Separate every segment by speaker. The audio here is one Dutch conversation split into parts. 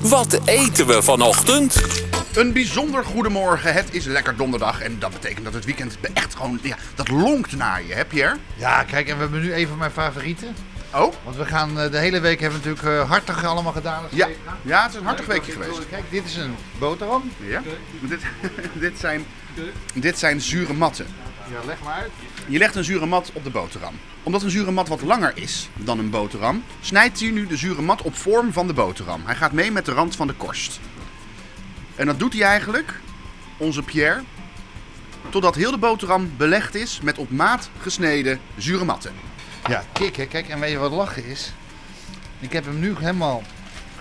Speaker 1: Wat eten we vanochtend?
Speaker 2: Een bijzonder goedemorgen. Het is lekker donderdag en dat betekent dat het weekend echt gewoon, ja, dat lonkt naar je, hè Pierre?
Speaker 3: Ja, kijk, en we hebben nu een van mijn favorieten.
Speaker 2: Oh?
Speaker 3: Want we gaan eh, de hele week hebben we natuurlijk eh, hartig allemaal gedaan. als
Speaker 2: Ja,
Speaker 3: collega.
Speaker 2: ja het is een hartig weekje geweest.
Speaker 3: Kijk, dit is een boterham.
Speaker 2: Ja? Dit, dit, zijn, dit zijn zure matten.
Speaker 3: Ja, leg maar uit.
Speaker 2: Je legt een zure mat op de boterham. Omdat een zure mat wat langer is dan een boterham, snijdt hij nu de zure mat op vorm van de boterham. Hij gaat mee met de rand van de korst. En dat doet hij eigenlijk, onze Pierre, totdat heel de boterham belegd is met op maat gesneden zure matten.
Speaker 3: Ja, kik, hè. Kijk, en weet je wat lachen is? Ik heb hem nu helemaal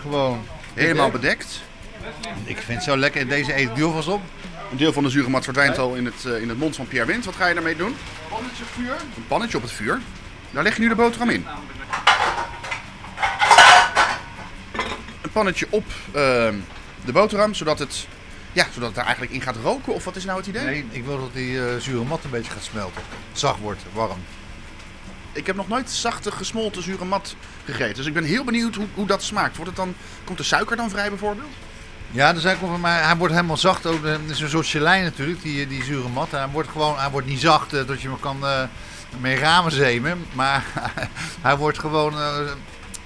Speaker 3: gewoon...
Speaker 2: Helemaal bedekt.
Speaker 3: Ik vind het zo lekker. Deze eet ik nu alvast op.
Speaker 2: Een deel van de zure mat verdwijnt al in het, eh, in het mond van Pierre Wind. Wat ga je daarmee doen?
Speaker 3: Pannetje vuur.
Speaker 2: Een pannetje op het vuur. Daar leg je nu de boterham in. Een pannetje op ehm, de boterham, zodat het, ja, zodat het daar eigenlijk in gaat roken. Of wat is nou het idee?
Speaker 3: Nee, ik wil dat die eh, zure mat een beetje gaat smelten. Zacht wordt, warm.
Speaker 2: Ik heb nog nooit zachte gesmolten zure mat gegeten. Dus ik ben heel benieuwd hoe, hoe dat smaakt. Wordt het dan, komt de suiker dan vrij bijvoorbeeld?
Speaker 3: Ja, dat is eigenlijk wel- maar hij wordt helemaal zacht. Ook, eh, het is een soort gelei natuurlijk, die, eh, die zure mat. Hij wordt gewoon, hij wordt niet zacht, eh, dat je hem kan eh mee ramen zemen. Maar hij wordt gewoon eh,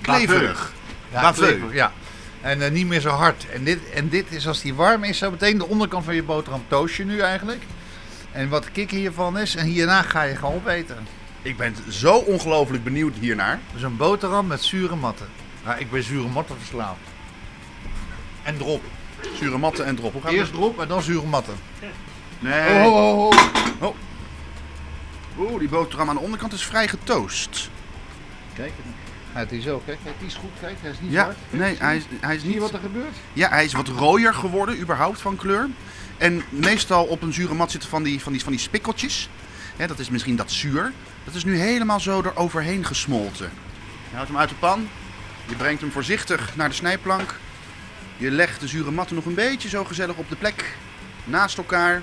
Speaker 3: kleverig. Ja,
Speaker 2: Baveu.
Speaker 3: kleverig, ja. En eh, niet meer zo hard. En dit, en dit is als die warm is, zo meteen de onderkant van je boterham toast je nu eigenlijk. En wat de kick hiervan is, en hierna ga je gewoon opeten.
Speaker 2: Ik ben zo ongelooflijk benieuwd hiernaar.
Speaker 3: Dus een boterham met zure matten. Ja, ik ben zure matten verslaafd. En drop.
Speaker 2: Zure matten en drop. Hoe gaat Oh,
Speaker 3: Eerst drop en dan zure matten.
Speaker 2: het? Nee.
Speaker 3: Ho, ho, ho, ho.
Speaker 2: Oeh, die boterham aan de onderkant is vrij getoast.
Speaker 3: Kijk, het is ook, kijk, die is goed, kijk, hij is niet
Speaker 2: Ja,
Speaker 3: hard.
Speaker 2: nee, hij is, hij is
Speaker 3: Zie je
Speaker 2: niet...
Speaker 3: wat er gebeurt?
Speaker 2: Ja, hij is wat rooier geworden, überhaupt van kleur. En meestal op een zure mat zitten van die, van die, van die spikkeltjes. Hè, dat is misschien dat zuur. Dat is nu helemaal zo eroverheen gesmolten. Je houdt hem uit de pan. Je brengt hem voorzichtig naar de snijplank. Je legt de zure matten nog een beetje zo gezellig op de plek. Naast elkaar.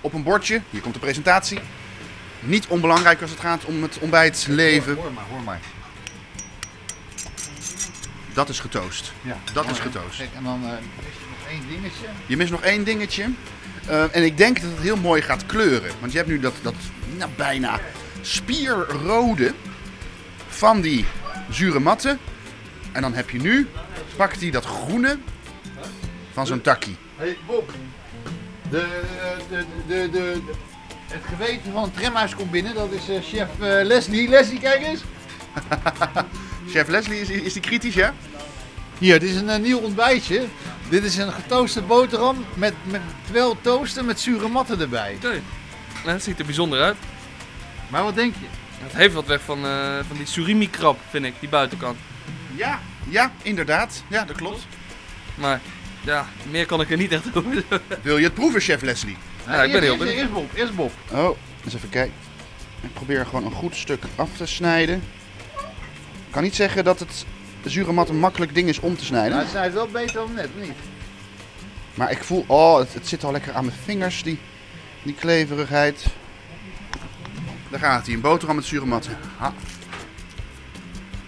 Speaker 2: Op een bordje. Hier komt de presentatie. Niet onbelangrijk als het gaat om het ontbijtleven.
Speaker 3: Hoor, hoor maar, hoor maar.
Speaker 2: Dat is getoast.
Speaker 3: Ja,
Speaker 2: Dat
Speaker 3: Mooi,
Speaker 2: is
Speaker 3: hè?
Speaker 2: getoast.
Speaker 3: Kijk, en dan eh, is er nog één dingetje.
Speaker 2: Je mist nog één dingetje. Eh, en ik denk dat het heel mooi gaat kleuren. Want je hebt nu dat, dat nou, bijna spierrode van die zure matten. En dan heb je nu, pakt hij dat groene van zo'n takkie.
Speaker 3: hey, Bob, de, de, de, de, het geweten van het tramhuis komt binnen, dat is eh, chef Leslie. Leslie, kijk eens.
Speaker 2: Chef Leslie, is, is die kritisch, ja?
Speaker 3: Hier, dit is een eh, nieuw ontbijtje. Dit is een getooste boterham met, met wel toasten met zure matten erbij.
Speaker 4: Oké. Nou, het ziet er bijzonder uit.
Speaker 3: Maar wat denk je?
Speaker 4: Het heeft wat weg van, eh, van die surimi-krab, vind ik, die buitenkant.
Speaker 2: Ja. Ja, inderdaad. Ja, dat klopt.
Speaker 4: Maar ja, meer kan ik er niet echt over zeggen.
Speaker 2: Wil je het proeven, chef Leslie?
Speaker 4: Ja, ik ben heel
Speaker 3: Eerst-
Speaker 4: benieuwd.
Speaker 3: Eerst Bob, eerst Bob.
Speaker 2: Oh, eens even kijken. Ik probeer gewoon een goed stuk af te snijden. Ik kan niet zeggen dat het zure mat een makkelijk ding is om te snijden.
Speaker 3: Maar het snijdt Nou, wel beter dan net, niet?
Speaker 2: Maar ik voel, oh, het, het zit al lekker aan mijn vingers, die, die kleverigheid. Daar gaat hij, een boterham met zure matten. Ha.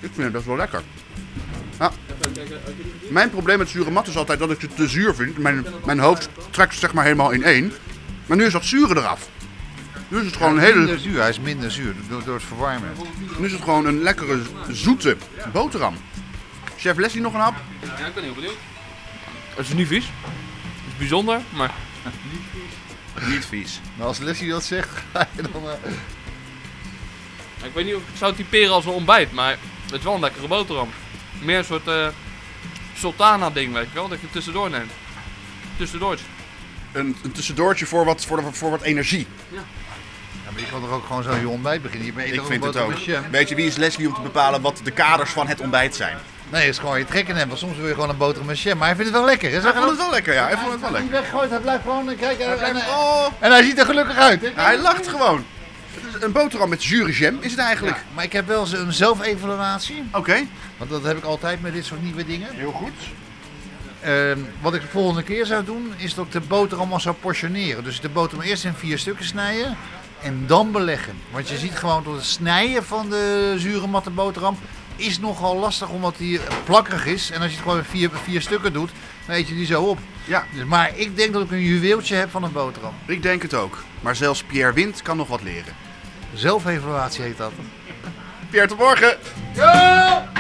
Speaker 2: Ik vind het best wel lekker. Ha. Mijn probleem met zure matten is altijd dat ik ze te zuur vind. Mijn, mijn hoofd trekt ze zeg maar helemaal in één. Maar nu is dat zure eraf. Nu is het gewoon een, hele,
Speaker 3: minder zuur, hij is minder zuur door, door het verwarmen.
Speaker 2: nu is het gewoon een lekkere, zoete boterham. Chef Leslie nog een hap?
Speaker 4: Ja, ik ben heel benieuwd. Het is niet vies. Het is bijzonder, maar
Speaker 2: Niet vies.
Speaker 3: Maar als Leslie dat zegt, ga je dan... eh,
Speaker 4: ik weet niet of ik het zou typeren als een ontbijt. Maar het is wel een lekkere boterham. Meer een soort eh, sultana-ding, weet je wel, dat je het tussendoor neemt. Tussendoor.
Speaker 2: Een, een tussendoortje voor wat, voor, voor wat energie.
Speaker 3: Ja, maar je kan toch ook gewoon zo je ontbijt beginnen? Je bent
Speaker 2: Ik
Speaker 3: toch
Speaker 2: vind
Speaker 3: een
Speaker 2: het ook.
Speaker 3: boterhammetje?
Speaker 2: Weet je, wie is Leslie om te bepalen wat de kaders van het ontbijt zijn?
Speaker 3: Nee, het is gewoon je trekken hebben. Soms wil je gewoon een boterham met jam. Maar hij vindt het wel lekker, hè?
Speaker 2: Hij
Speaker 3: Zeg
Speaker 2: vond het wel lekker, ja. Hij vond het wel lekker.
Speaker 3: weggooit, hij blijft gewoon... eh, Kijk,
Speaker 2: Hij
Speaker 3: eh, en,
Speaker 2: blijft-
Speaker 3: eh,
Speaker 2: oh,
Speaker 3: en hij ziet er gelukkig uit, hè?
Speaker 2: hij lacht gewoon. Het is een boterham met zure jam, Oh, is het eigenlijk? Oh.
Speaker 3: Ja, maar ik heb wel eens een zelfevaluatie.
Speaker 2: Oké.
Speaker 3: Want dat heb ik altijd met dit soort nieuwe dingen.
Speaker 2: Heel goed.
Speaker 3: Ehm, wat ik de volgende keer zou doen, is dat ik de boterham al zou portioneren. Dus de boterham eerst in vier stukken snijden en dan beleggen. Want je ziet gewoon dat het snijden van de zure matte boterham is nogal lastig omdat die eh, plakkerig is. En als je het gewoon in vier, vier stukken doet, dan eet je die zo op.
Speaker 2: Ja,
Speaker 3: Dus, maar ik denk dat ik een juweeltje heb van een boterham.
Speaker 2: ik denk het ook. Maar zelfs Pierre Wind kan nog wat leren.
Speaker 3: Zelfevaluatie heet dat.
Speaker 2: Pierre, tot morgen!
Speaker 3: Ja!